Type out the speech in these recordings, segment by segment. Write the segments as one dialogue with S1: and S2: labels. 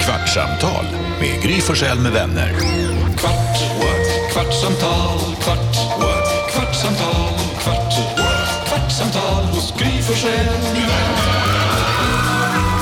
S1: Kvartsamtal med Gry Forssell med vänner. Kvart, what? kvartsamtal, kvart, what? kvartsamtal, kvart, what? kvartsamtal hos Gry Forssell med vänner.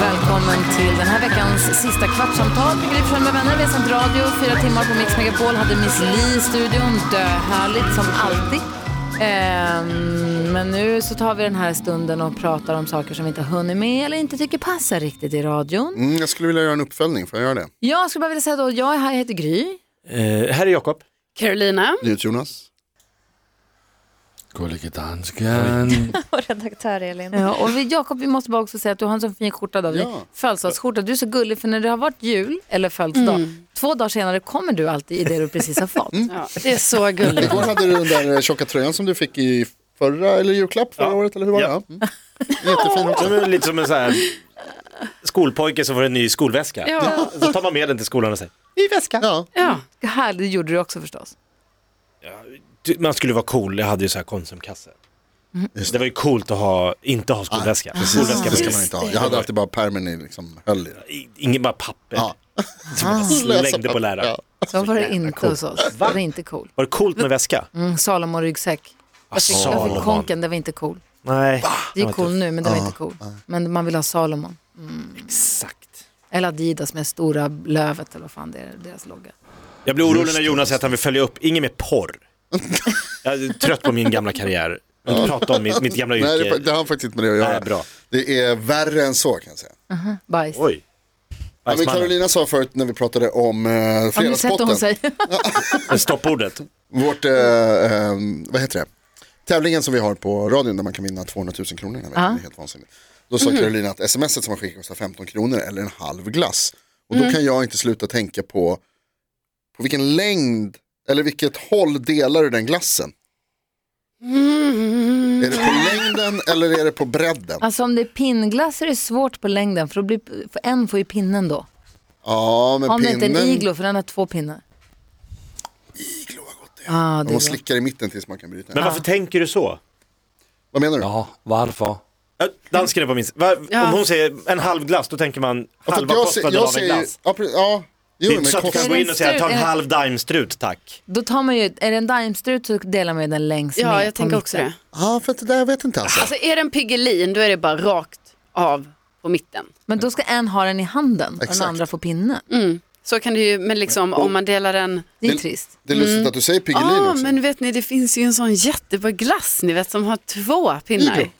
S2: Välkommen till den här veckans sista kvartsamtal med Gry Forssell med vänner. Vi har sänt radio fyra timmar på Mix Megapol. Hade Miss Li i studion. Döhärligt som alltid. Ehm, men nu så tar vi den här stunden och pratar om saker som vi inte har hunnit med eller inte tycker passar riktigt i radion.
S3: Mm, jag skulle vilja göra en uppföljning, får jag göra det?
S2: Jag skulle bara vilja säga då, jag är här, jag heter Gry.
S4: Eh, här är Jakob.
S5: Carolina.
S3: Jonas.
S4: Gullige dansken.
S6: Och redaktör Elin.
S2: Ja, och vi, Jakob, vi måste bara också säga att du har en så fin skjorta av dig. Födelsedagsskjorta. Du är så gullig, för när det har varit jul eller födelsedag, två dagar senare kommer du alltid i det du precis har fått.
S5: Ja, det är så gulligt.
S3: Igår hade du den där eh, tjocka tröjan som du fick i förra, eller julklapp förra året, eller hur var det? Ja. Mm. Jättefin också.
S4: Som är lite som en sån här skolpojke som får en ny skolväska.
S5: Ja.
S4: Så tar man med den till skolan och säger,
S3: Ja.
S5: Ja,
S2: Här, det gjorde du också förstås.
S4: "Du, man skulle vara cool, jag hade ju så här Konsumkasse.
S3: Just
S4: Det var ju coolt att ha, inte ha skolväska. Skolväska
S3: Det ska
S4: ska
S3: man
S4: man
S3: inte ha. Jag hade alltid bara pärmen i liksom, höll i. den.
S4: i- Inget bara papper
S3: Ja.
S4: som man bara slängde på läraren.
S3: Ja.
S2: Så var det inte hos oss. Det var inte cool.
S4: Var det coolt med väska?
S2: Mm, Salomon-ryggsäck. Jag fick, jag fick
S4: Salomon.
S2: konken, det var inte cool.
S4: Nej.
S2: Det är ju
S4: var
S2: cool
S4: tufft.
S2: nu, men det var inte cool. Men man vill ha Salomon.
S4: Exakt.
S2: Eller Adidas med stora lövet eller vad fan det är, deras logga.
S4: Jag blir orolig när Jonas säger att han vill följa upp, inget med porr. Jag är trött på min gamla karriär. Jag vill inte prata om mitt, mitt gamla yrke.
S3: Nej, det, fa- det har faktiskt inte med det att göra.
S4: Nej, bra.
S3: Det är värre än så kan jag säga.
S2: Bajs.
S4: Oj.
S3: Ja, men Carolina sa förut när vi pratade om eh,
S2: Har ni sett hon
S3: Fredagspotten,
S2: säger?
S4: Stoppordet.
S3: vårt, eh, eh, vad heter det, tävlingen som vi har på radion där man kan vinna 200 000 kronor. Jag vet, Det är helt vansinnigt. Då
S2: Mhm.
S3: sa Carolina att smset som man skickar kostar 15 kronor eller en halv glass. Och
S2: Mm.
S3: då kan jag inte sluta tänka på, på vilken längd eller vilket håll delar du den glassen?
S2: Mm.
S3: Är det på längden eller är det på bredden?
S2: Alltså om det är pinnglass är det svårt på längden, för, då blir, för en får ju pinnen då.
S3: Ja, men
S2: Om det inte är en
S3: pinnen,
S2: iglo, för den har två pinnar.
S3: iglo har gått det.
S2: Ah, det
S3: Man
S2: är
S3: måste
S2: bra.
S3: slicka i mitten tills man kan bryta.
S4: Men
S3: den.
S4: varför tänker du så?
S3: Vad menar du?
S7: Ja, varför?
S4: Ja, Dansken är på min sida. Va- Om
S5: Ja.
S4: hon säger en halv glass, då tänker man
S3: Ja, för att
S4: halva
S3: Alltså, jag ser-
S4: kostnaden
S3: jag
S4: av en
S3: ser-
S4: glass.
S3: Ja, pre- ja. Jo,
S4: Det är
S3: men
S4: inte så att du
S3: kostnaden-
S4: kan gå in och säga ta en
S2: Är det-
S4: halv daimstrut tack.
S2: Då tar man ju, är det en daimstrut så delar man ju den längs med
S5: ja jag
S2: på
S5: tänker också
S2: mitten.
S5: det.
S3: Ja, för att det där jag vet inte alltså.
S5: Alltså är det en Piggelin då är det bara rakt av på mitten.
S2: Men då ska en ha den i handen och
S3: Exakt.
S2: den andra får pinnen.
S5: Så kan det ju, men liksom om man delar den.
S2: Det är
S3: Det-
S2: trist.
S3: Det är lustigt att du säger Piggelin
S5: Ja,
S3: också.
S5: Ah, men vet ni det finns ju en sån jättebra glass ni vet som har två pinnar.
S3: Iglo.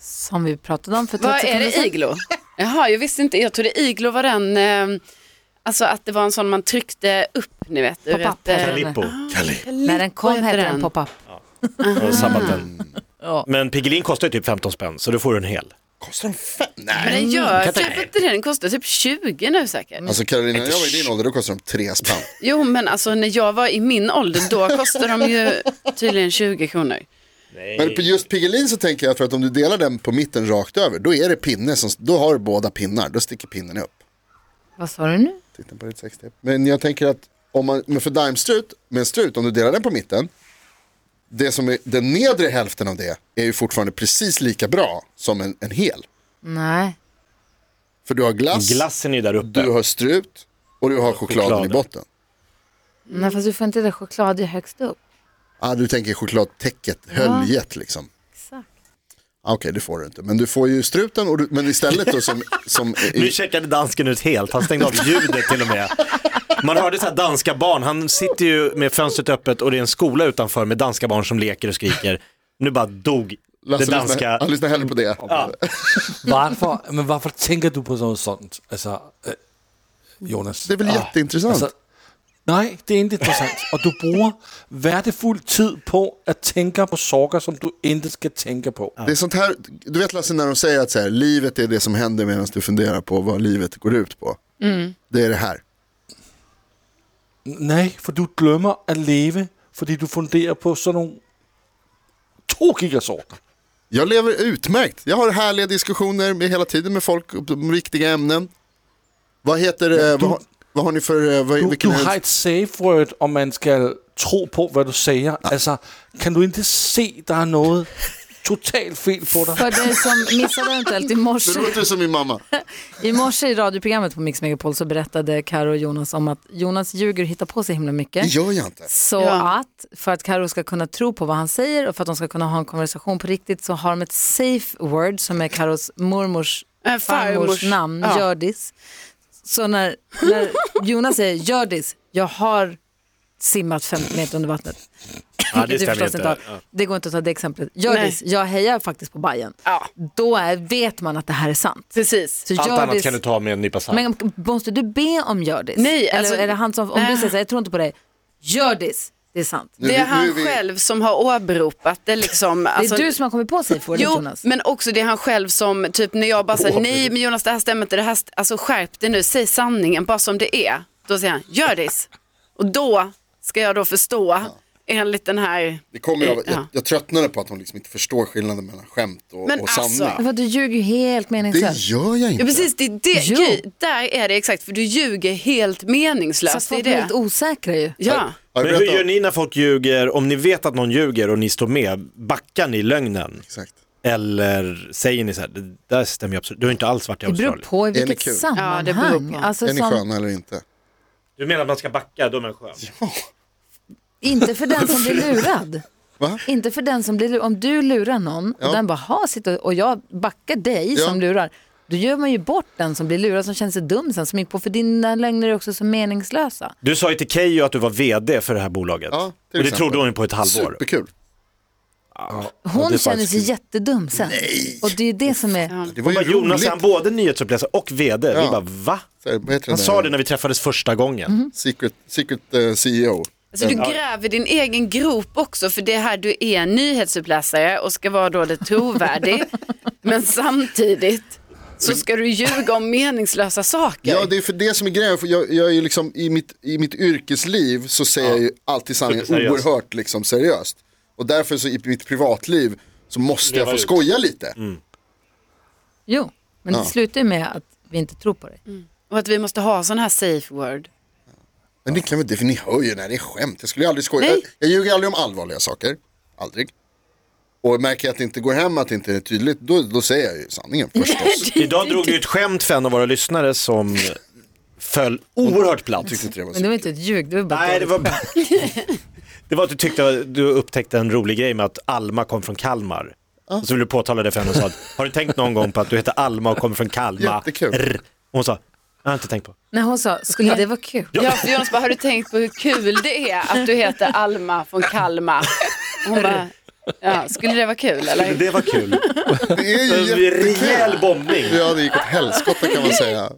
S2: Som vi pratade om för 30
S5: Vad är
S2: sekunder
S5: det
S2: sedan.
S5: iglo? Jaha, jag visste inte, jag trodde iglo var den, eh, alltså att det var en sån man tryckte upp ni vet. ur
S2: Pop-up.
S5: ett, eh,
S4: Calippo.
S2: När den kom
S5: Vad heter
S2: hette den
S5: den?
S2: pop-up.
S4: Jag har sabbat den. Men Piggelin kostar ju typ 15 spänn så då får du en hel.
S3: Kostar den fem? Nej.
S5: Men den
S4: jag
S5: gör
S4: kan
S5: typ
S4: inte-
S5: inte det, den kostar typ 20 nu säkert.
S3: Alltså Carolina, när jag var i din ålder, då kostade de tre spänn.
S5: Jo men alltså när jag var i min ålder då kostade de ju tydligen 20 kronor.
S3: Men på just Piggelin så tänker jag för att om du delar den på mitten rakt över, då är det pinne som, då har du båda pinnar, då sticker pinnen upp.
S2: Vad sa du nu?
S3: Titta på ditt sextape. Men jag tänker att om man, men för daimstrut, med en strut, om du delar den på mitten, det som är den nedre hälften av det är ju fortfarande precis lika bra som en, en hel.
S2: Nej.
S3: För du har glass,
S4: Glassen är ju där uppe.
S3: du har strut och du har chokladen
S4: Chokladen.
S3: i botten.
S2: Nej, fast du får inte det choklad högst upp.
S3: Ah, du tänker chokladtäcket, höljet liksom.
S2: Exakt.
S3: Ah, Okej, det får du inte. Men du får ju struten, och du, men istället då som... som
S4: Nu checkade dansken ut helt, han stängde av ljudet till och med. Man hörde så här danska barn, han sitter ju med fönstret öppet och det är en skola utanför med danska barn som leker och skriker. Nu bara dog det
S3: Lasse lyssnar,
S4: danska.
S3: han lyssnar hellre på det.
S7: Varför, men varför tänker du på något sånt? Alltså, eh, Jonas. Ah, alltså,
S3: Det är väl jätteintressant?
S7: nej, det är inte intressant. Och du bruger värdefull tid på att tänka på saker som du inte ska tänka på.
S3: Det är sånt här, du vet Lasse när de säger att så här, livet är det som händer medan du funderar på vad livet går ut på. Det är det här.
S7: Nej, för du glömmer att leva för du funderar på sådana tokiga saker.
S3: Jag lever utmärkt. Jag har härliga diskussioner med, hela tiden med folk om viktiga ämnen. Vad heter det? vad, har- vad har ni för... eh, Vad,
S7: Du, du
S3: vilken
S7: har ett safe word om man ska tro på vad du säger. Alltså, kan du inte se att det är något totalt fel på dig.
S2: För dig som missade eventuellt i morse.
S3: Det låter som min mamma.
S2: I morse i radioprogrammet på Mix Megapol så berättade Karo och Jonas om att Jonas ljuger och hittar på sig himla
S3: Det
S2: mycket.
S3: gör jag inte.
S2: Så
S5: Ja.
S2: att för att Karo ska kunna tro på vad han säger och för att de ska kunna ha en konversation på riktigt så har de ett safe word som är Karos mormors
S5: Äh,
S2: farmors
S5: farmors.
S2: namn,
S5: Ja.
S2: Gördis. Så när, när Jonas säger Gördis, jag har simmat 50 meter under vattnet.
S4: Ja, det
S2: Vilket du
S4: stämmer
S2: förstås
S4: inte.
S2: har. Det går inte att ta det exemplet. Gördis, jag hejar faktiskt på Bayern.
S5: Ja,
S2: Då är, vet man att det här är sant.
S5: precis.
S2: Så
S4: Allt annat
S2: Gördis-
S4: kan du ta med en nypa salt.
S2: men måste du be om Gördis?
S5: Nej,
S2: Eller
S5: alltså-
S2: är det han som, om du
S5: Nej.
S2: säger så här, jag tror inte på dig, Gördis, det är sant.
S3: Nu,
S5: Det är
S3: nu
S5: han själv som har åberopat det liksom.
S2: Det är
S5: Alltså,
S2: du som har kommit på sig för det
S5: Jo,
S2: Jonas.
S5: men också det är han själv som, typ när jag bara säger nej men Jonas det här stämmer inte, det här, st- alltså skärp dig nu, säg sanningen bara som det är. Då säger han, gör this. Och då ska jag då förstå enligt den här,
S3: Det kommer av, jag,
S5: Eh, Ja.
S3: jag tröttnade på att hon liksom inte förstår skillnaden mellan skämt och,
S5: Men
S3: och
S5: alltså,
S3: sanning.
S2: Vad, du ljuger ju helt
S3: det
S2: meningslöst.
S3: gör jag inte.
S5: ja precis det, är det
S2: Jo.
S5: Gry, där är det exakt för du ljuger helt
S2: Fast
S5: meningslöst. Det är
S2: folk blir
S5: det.
S2: helt osäkra ju.
S5: Ja.
S3: Har jag
S4: Men hur
S3: berättat-
S4: gör ni när folk ljuger, om ni vet att någon ljuger och ni står med, backar ni lögnen?
S3: Exakt.
S4: Eller säger ni så här, det där stämmer ju absolut, du har inte alls varit i
S2: Det beror
S4: Australien.
S2: på i
S3: det
S2: vilket
S3: kul?
S5: Ja, det beror
S2: sammanhang.
S5: på.
S2: alltså,
S3: Är ni
S2: som,
S3: sköna eller inte?
S4: Du menar att man ska backa, då är man skön.
S2: inte för den som blir lurad.
S3: Va?
S2: Inte för den som blir lurad. Om du lurar någon och
S3: Ja.
S2: den bara, ha, sitter och jag backar dig
S3: Ja.
S2: som lurar. Då gör man ju bort den som blir lurad som känner sig dum sen som gick på för dina lögner är också så meningslösa.
S4: Du sa ju till Keyyo att du var vd för det här bolaget.
S3: Ja, till
S4: och det
S3: exempel.
S4: trodde hon ju på ett halvår.
S3: Superkul.
S2: Hon
S4: det är
S2: känner
S4: faktiskt
S2: sig jättedum sen. Och det är ju det som är...
S3: Det var ju
S4: Bara, Jonas
S3: roligt.
S4: är han både nyhetsuppläsare och vd. Vi
S3: Ja.
S4: bara va?
S3: Så här, vad heter
S4: Han
S3: den
S4: sa
S3: där?
S4: det när vi träffades första gången.
S2: Mhm.
S3: Secret, secret eh, CEO.
S5: Alltså, du gräver din egen grop också för det är här du är nyhetsuppläsare och ska vara då lite trovärdig. men samtidigt så ska du ljuga om meningslösa saker.
S3: Ja, det är för det som är grejen. För jag, jag är ju liksom, i, mitt, I mitt yrkesliv så säger jag ju alltid sanningen
S4: Superseriöst.
S3: oerhört liksom, seriöst. Och därför så i mitt privatliv så måste jag
S4: Leva
S3: få
S4: ut. Mm.
S3: skoja lite.
S2: Jo, men det slutar ju med att vi inte tror på dig.
S5: Och att vi måste ha sån här safe word.
S3: Men det kan väl, det, för ni hör ju när det är skämt. Jag skulle ju aldrig skoja.
S5: Nej.
S3: Jag, jag ljuger aldrig om allvarliga saker. Aldrig. Och märker jag att det inte går hem, att det inte är tydligt, då, då säger jag ju sanningen förstås.
S4: Idag drog du ett skämt för en av våra lyssnare som föll oerhört platt.
S3: Tyckte inte det var
S2: Men det
S3: så.
S2: var inte ett ljug, det var bara
S4: Nej, det
S2: dåligt.
S4: var... det var att du tyckte du upptäckte en rolig grej med att Alma kom från Kalmar. Och så ville du påtala det för henne och sa, har du tänkt någon gång på att du heter Alma och kommer från Kalmar?
S3: Jättekul.
S4: Rr. Och hon sa, jag har inte tänkt på.
S2: När hon sa, skulle det vara kul?
S5: Ja, för Jonas bara, har du tänkt på hur kul det är att du heter Alma från Kalmar? Och Hon bara, ja, skulle det vara kul eller?
S4: Det var kul.
S3: Det är ju
S4: En
S3: jättekul.
S4: rejäl bombning.
S3: Ja, det gick åt helskotta kan man säga.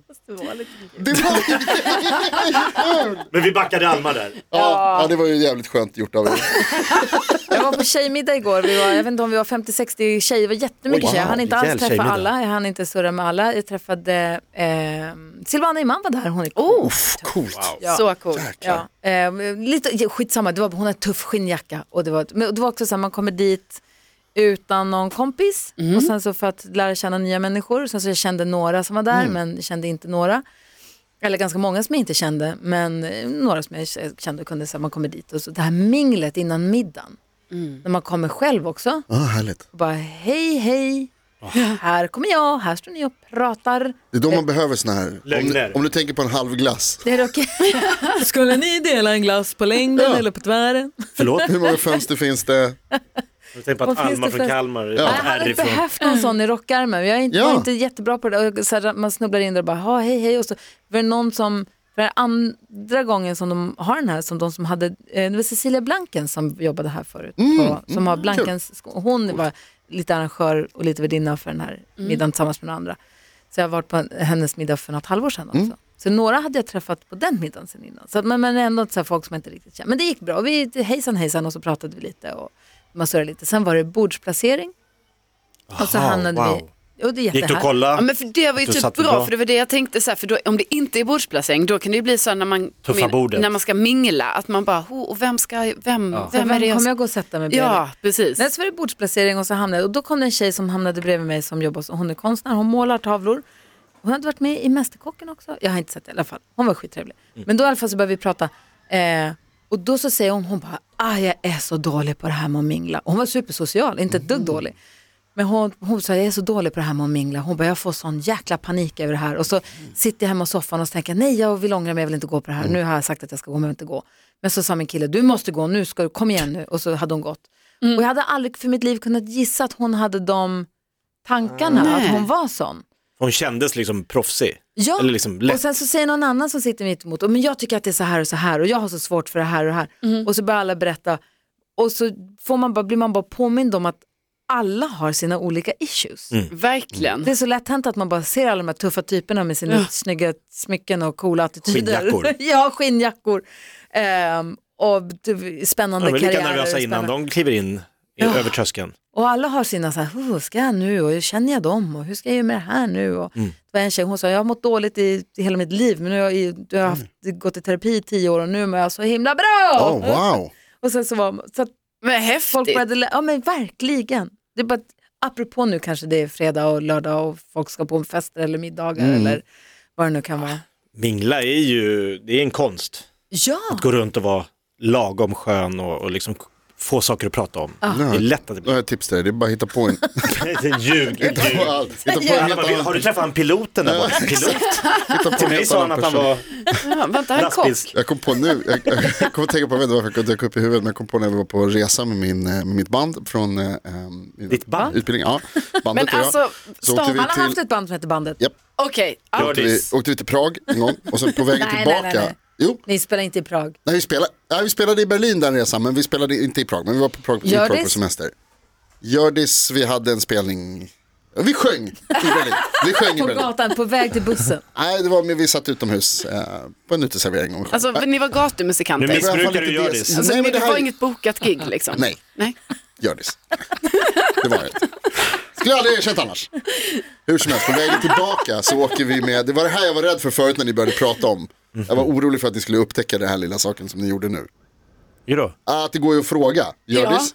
S3: Det var ju
S4: Men vi backade Alma där.
S3: Ja, ja, det var ju jävligt skönt gjort av er.
S2: Jag var på tjejmiddag igår, vi var, jag vet inte om vi var 50-60 tjejer, det var jättemycket
S4: Oj,
S2: tjejer. Jag
S4: wow,
S2: hann inte alls
S4: rejäl
S2: träffa
S4: tjejmiddag.
S2: alla, jag hann inte surra med alla. Jag träffade eh, Silvana Imam var där, hon är
S3: Uff, coolt.
S5: Så coolt.
S3: Jäklar.
S2: Ja, eh, lite, ja, skitsamma, det var, hon har en tuff skinnjacka. Och det, var, men det var också så här, man kommer dit utan någon kompis och sen så för att lära känna nya människor. Sen så jag kände några som var där men kände inte några. Eller ganska många som jag inte kände men eh, några som jag k- kände och kunde säga man kommer dit. Och så det här minglet innan middagen. När man kommer själv också
S3: Ah, härligt.
S2: och bara hej hej. Här kommer jag, här står ni och pratar.
S3: Det är då man behöver såna här, om, du-
S4: Lögner.
S3: om du tänker på en halv glass.
S2: Det är okej. Skulle ni dela en glass på längden
S3: Ja.
S2: eller på tvären?
S4: Förlåt?
S3: Hur många fönster finns det?
S4: Jag tänkte på
S2: Vad
S4: att
S2: finns
S4: Alma
S2: det
S4: från
S2: för-
S4: Kalmar är
S2: Jag hade
S4: härifrån.
S2: behövt någon sån i rockärmen. Jag är inte,
S3: Ja.
S2: var inte jättebra på det där. Och Så här, man snubblar in där och bara, ha, hej hej. Och så var det någon som, för den andra gången som de har den här, som de som hade, eh, det var Cecilia Blanken som jobbade här förut. på, som har Blankens, sko- hon var lite arrangör och lite värdinna för den här middagen tillsammans med några andra. Så jag har varit på en- hennes middag för något halvår sedan också. Så några hade jag träffat på den middagen sen innan. Så att, men, men ändå så här folk som jag inte riktigt känner. Men det gick bra. Vi, hejsan hejsan och så pratade vi lite och man surrade lite. Sen var det bordsplacering. Och så
S4: Aha,
S2: hamnade
S4: wow.
S2: vi... Och det är
S4: Gick du och
S2: jättehär-
S5: Ja,
S4: kolla?
S5: men för det var ju
S4: Du
S5: typ
S4: satt
S5: bra,
S4: bra.
S5: för det var det jag tänkte så här, för då, om det inte är bordsplacering då kan det ju bli så här när man,
S4: Tuffa bordet.
S5: när man ska mingla, att man bara, "Ho, och vem ska, vem, vem är det jag
S2: Kommer
S5: ska...
S2: jag gå och sätta mig bredvid?
S5: Ja, precis.
S2: Nej, så var det bordsplacering och så hamnade och då kom det en tjej som hamnade bredvid mig som jobbar som hon är konstnär, hon målar tavlor. Hon hade varit med i Mästerkocken också, jag har inte sett det i alla fall. Hon var skittrevlig.
S4: Mm.
S2: Men då i alla fall så började vi prata eh, och
S4: Mm.
S2: då så säger hon, hon bara, ah, jag är så dålig på det här med att mingla. Och Hon var supersocial, inte ett dugg dålig. Men hon, hon sa, jag är så dålig på det här med att mingla. Hon bara, jag får sån jäkla panik över det här. Och så
S4: Mm.
S2: sitter jag hemma i soffan och tänker, nej jag vill ångra mig, jag vill inte gå på det här. Nu har jag sagt att jag ska gå, men jag vill inte gå. Men så sa min kille, du måste gå, nu ska du, kom igen nu. Och så hade hon gått.
S4: Mm.
S2: Och jag hade aldrig för mitt liv kunnat gissa att hon hade de tankarna,
S4: Ah.
S2: att hon var sån.
S4: Hon kändes liksom proffsig.
S2: Ja,
S4: Eller liksom lätt.
S2: och sen så säger någon annan som sitter mitt emot, "Åh, men jag tycker att det är så här och så här och jag har så svårt för det här och det här.
S4: Mm.
S2: Och så börjar alla berätta och så får man bara, blir man bara påmind om att alla har sina olika issues.
S3: Mm.
S5: Verkligen.
S2: Det är så lätt hänt att man bara ser alla de här tuffa typerna med sina snygga smycken och coola attityder.
S4: Skinnjackor.
S2: ja, skinnjackor. Ehm, och du- spännande
S4: De är lika
S2: karriärer och
S4: nervösa innan
S2: spännande-
S4: de kliver in i, över tröskeln.
S2: och alla har sina så här, hur ska jag nu och hur känner jag dem och hur ska jag göra med det här nu? Och
S4: Mm.
S2: Det var en tjej, hon sa, jag har mått dåligt i, i hela mitt liv men nu har jag, i- jag
S4: Mm.
S2: har haft, gått i terapi i tio år och nu mår jag så himla bra.
S3: Oh, wow.
S2: Och sen så var så att
S5: Men
S2: folk
S5: häftigt.
S2: började, lä- ja men verkligen. Det är bara, att- apropå nu kanske det är fredag och lördag och folk ska på fester eller middagar eller vad det nu kan vara.
S4: Mingla är ju, det är en konst.
S2: Ja,
S4: Gå runt och vara lagom skön och, och liksom få saker att prata om. Det är lätt att det
S3: Då
S4: blir.
S3: har jag ett tips till dig, det är bara att hitta på en.
S4: Lite ljug. ljug.
S3: hitta på allt. Hitta på en
S4: Alla
S3: helt
S4: bara, "Vill- Har
S3: annan-
S4: du träffat han piloten där borta? Pilot?
S3: hitta på
S4: Till
S3: en
S4: mig
S3: helt
S4: sa han
S3: annan
S4: att han
S3: person.
S4: var
S5: Ja, vänta, han kom.
S4: lastbils...
S3: Jag kom på nu, jag, jag kom att tänka på, jag vet inte varför jag dök upp i huvudet, men jag kom på när vi var på resa med, min, eh, med mitt band från eh, eh, min
S4: Ditt band?
S3: utbildning. Ja, bandet
S5: Men
S3: och jag.
S5: alltså,
S3: Så åkte
S5: stavarna
S2: man
S3: vi
S2: har
S3: till,
S2: haft ett band som heter Bandet.
S3: japp,
S5: Okej, ja.
S3: åkte, vi,
S4: Hjördis.
S3: åkte vi till Prag en gång och sen på vägen
S2: Nej, nej,
S3: tillbaka.
S2: nej, nej.
S3: Jo,
S2: Ni spelar inte i Prag.
S3: nej, vi, spelade, nej, vi spelade i Berlin den resan, men vi spelade inte i Prag, men vi var på Prag, i Prag på
S2: Hjördis?
S3: semester. Hjördis, vi hade en spelning, Ja, vi sjöng i Berlin. Vi sjöng i
S2: På
S3: Berlin.
S2: gatan, på väg till bussen.
S3: Nej, det var med, vi satt utomhus eh, på en uteservering och vi sjöng.
S5: Alltså ni var
S4: Nu
S5: gatumusikanter.
S3: i alla fall
S4: missbrukar du
S3: inte
S4: Hjördis.
S3: det.
S5: Alltså,
S3: Nej,
S5: det,
S3: men det här-
S5: var inget bokat gig liksom?
S3: Nej.
S5: Nej.
S3: Hjördis. Det var det. Skulle aldrig erkänt annars. Hur som helst, på vägen tillbaka så åker vi med, det var det här jag var rädd för förut när ni började prata om. Jag var orolig för att ni skulle upptäcka den här lilla saken som ni gjorde nu. Ah,
S4: Jo då.
S3: Att det går ju att fråga, Hjördis.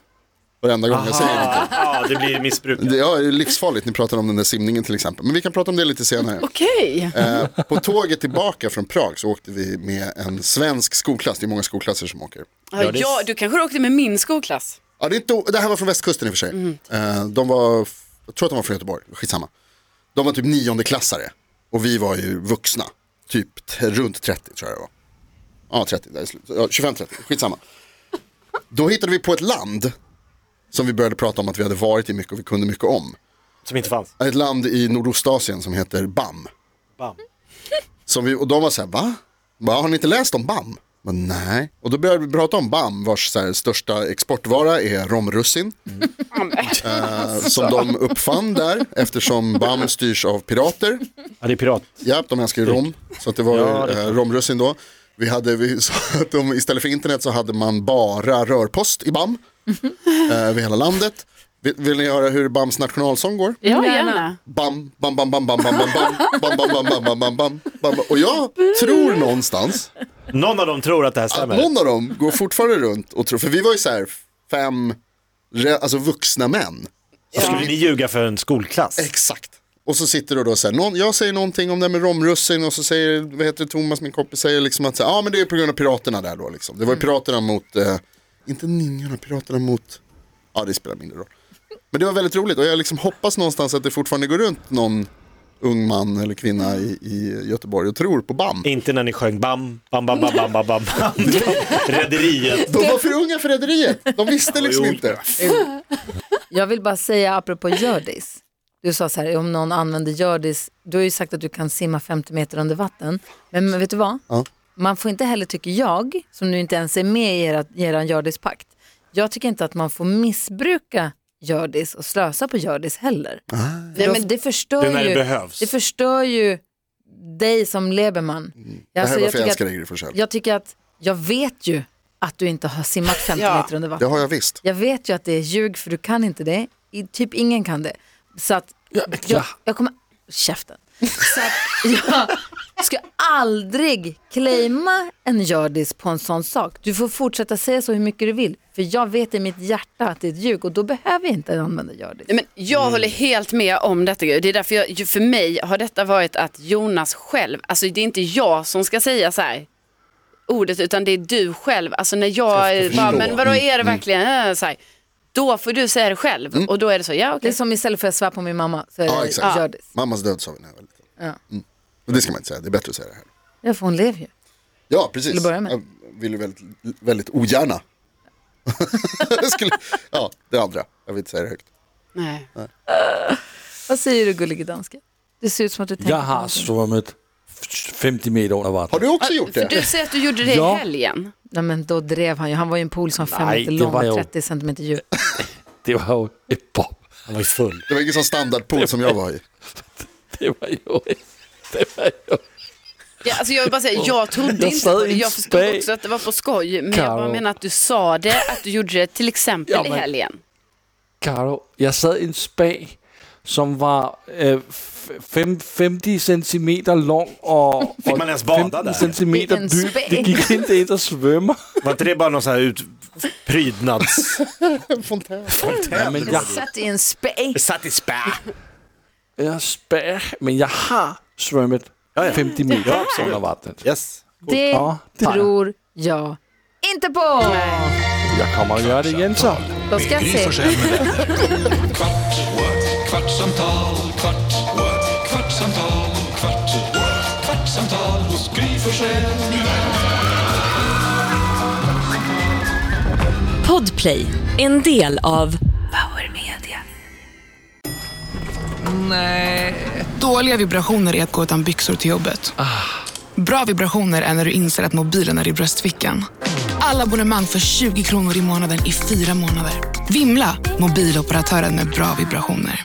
S3: Varenda gång jag säger någonting.
S4: Ja, det blir missbruk.
S3: Det ja, det är livsfarligt, ni pratade om den där simningen till exempel. Men vi kan prata om det lite senare.
S5: Okej.
S3: Eh, på tåget tillbaka från Prag så åkte vi med en svensk skolklass, det är många skolklasser som åker.
S5: Ja,
S4: det-
S5: ja, du kanske åkte med min skolklass?
S3: Ja, det, är inte, det här var från västkusten i och för sig. Eh, de var, jag tror att de var från Göteborg, skitsamma. De var typ niondeklassare och vi var ju vuxna, typ t- runt 30 tror jag det var. Ja, 30, där i slutet. ja, 25-30, skitsamma. Då hittade vi på ett land som vi började prata om att vi hade varit i mycket och vi kunde mycket om.
S4: Som inte fanns.
S3: Ett land i Nordostasien som heter BAM.
S4: Bam.
S3: Som vi, och de var så här, va? va? Har ni inte läst om BAM? Men, Nej. Och då började vi prata om BAM, vars så här, största exportvara är romrussin. Eh, som de uppfann där, eftersom BAM styrs av pirater.
S4: Ja, det är pirat.
S3: Ja, de älskar ju rom, så att det var
S4: Ja, det är
S3: eh, romrussin då. Vi hade, vi sa att de, istället för internet så hade man bara rörpost i BAM.
S4: Mhm.
S3: eh, över hela landet. Vill, vill ni höra hur BAMs nationalsång går?
S5: Ja,
S2: Gärna.
S5: gärna.
S3: Bam, bam, bam, bam, bam, bam, bam, bam, bam, bam, bam, bam, bam, bam, bam, bam. Och jag tror någonstans
S4: Någon av dem tror att det här
S3: att
S4: stämmer.
S3: någon av dem går fortfarande runt och tror, för vi var ju så här fem, re- alltså vuxna män.
S4: Skulle ni ljuga för en skolklass?
S3: Exakt. Och så sitter du då så här, någon, jag säger någonting om det här med romrussin och så säger, vad heter det, Thomas, min kompis, säger liksom att, ja ah, men det är på grund av piraterna där då liksom. Det var ju
S2: Mm.
S3: piraterna mot, eh, inte ninjorna, piraterna mot, ja det spelar mindre roll. Men det var väldigt roligt och jag liksom hoppas någonstans att det fortfarande går runt någon ung man eller kvinna i, i Göteborg och tror på BAM.
S4: Inte när ni sjöng bam, bam, bam, bam, bam, bam, bam, bam. Rederiet.
S3: De var för unga för rederiet, de visste liksom
S4: Jo,
S3: inte.
S2: Jag vill bara säga apropå Hjördis. Du sa så här, om någon använder Hjördis, du har ju sagt att du kan simma 50 meter under vatten. Men, men vet du vad?
S3: Ja.
S2: Man får inte heller, tycker jag, som nu inte ens är med i era, i eran Hjördis-pakt, jag tycker inte att man får missbruka Hjördis och slösa på Hjördis heller.
S3: Ah.
S5: Nej,
S2: Då-
S5: men
S2: det,
S4: Det
S2: förstör
S4: är när det
S2: ju,
S4: behövs.
S2: det förstör ju dig som Leberman.
S3: Mm. Det här
S2: Alltså,
S3: är
S2: jag,
S3: varför jag
S2: tycker
S3: älskar
S2: att,
S3: dig Gry Forssell.
S2: jag tycker att, jag vet ju att du inte har simmat 50
S5: Ja.
S2: meter under vatten.
S3: Det har jag visst.
S2: Jag vet ju att det är ljug för du kan inte det. I, typ ingen kan det. Så att jag,
S7: ja.
S2: jag kommer... Käften. Så att jag ska aldrig claima en gördis på en sån sak. Du får fortsätta säga så hur mycket du vill. För jag vet i mitt hjärta att det är ett ljug och då behöver jag inte använda gördis.
S5: Nej, men jag
S3: Mm.
S5: håller helt med om detta. Gry. Det är därför jag, ju för mig har detta varit att Jonas själv, alltså det är inte jag som ska säga så här ordet utan det är du själv. Alltså när jag,
S3: Jag ska
S5: bara,
S3: förstå. Mm,
S5: men vadå är det verkligen? Äh, Så här. Då får du säga det själv och då är det så, ja
S2: Det
S5: okej.
S2: är som istället för att svär på min mamma så är
S3: Ja,
S2: det
S3: exakt.
S2: gör det.
S3: Mammas död sa vi när jag var liten.
S2: Ja.
S3: Mm. Men det ska man inte säga, det är bättre att säga det här.
S2: Ja, för hon lever ju.
S3: Ja, precis.
S2: Vill du börja med?
S3: Jag vill ju väldigt, väldigt ogärna. Jag skulle, ja, det andra. Jag vill inte säga det högt.
S5: Nej.
S2: Vad säger du gullige danska? Det ser ut som att du tänker
S7: Jeg
S2: på
S7: har
S2: någonting.
S7: svømmet 50 meter under
S3: Har
S7: vandet.
S3: du också gjort
S5: För du
S3: det?
S5: säger att du gjorde det
S7: Ja.
S5: i helgen.
S2: Nej men då drev han ju, han var ju i en pool som var fem
S7: Nej,
S2: meter
S7: det
S2: lång
S7: var jag.
S2: och 30 centimeter djup.
S7: Det var jo et bob.
S4: Han var ju full.
S3: Det var ingen sån standardpool som jag var i.
S7: Det var jo det var jo
S5: Ja, alltså jag vill bara säga, jag trodde
S7: Jag
S5: inte
S7: satt
S5: på
S7: i
S5: det.
S7: en
S5: Jag förstod
S7: spe-
S5: också att det var på skoj. Men jag bara
S7: Karo.
S5: menar att du sa det, att du gjorde det till exempel
S7: Ja,
S5: i
S7: men-
S5: helgen.
S7: Caro, jeg sad i en spag, som var øh, f- fem- 50 cm lang og,
S4: Fik
S7: og
S4: man ens bada der?
S7: cm
S2: I en
S7: dyb.
S2: spag.
S7: Det gik ikke ind og svømmer.
S4: Var inte det bara någon sån här ut... prydnads...
S3: Fontän.
S7: Ja, men jeg,
S2: Jag satt i en spej.
S4: Satt i spä.
S7: jeg er spag, men jeg har svømmet 50 meter under vandet.
S4: Yes.
S2: Det
S7: Ja, det har jag.
S2: tror jeg ikke på!
S7: Jeg kommer og gør det igen så.
S2: Då ska jag
S1: Gry
S2: se.
S1: Forssell med vänner. Kvart, what? kvartsamtal, kvart, what? kvartsamtal, kvart, what? kvartsamtal hos Gry Forssell med vänner.
S6: Podplay, en del av Power Media.
S8: Nej. Dåliga vibrationer är att gå utan byxor till jobbet. Bra vibrationer är när du inser att mobilen är i bröstfickan. Alla abonnemang för 20 kronor i månaden i fyra månader. Vimla! Mobiloperatören med bra vibrationer.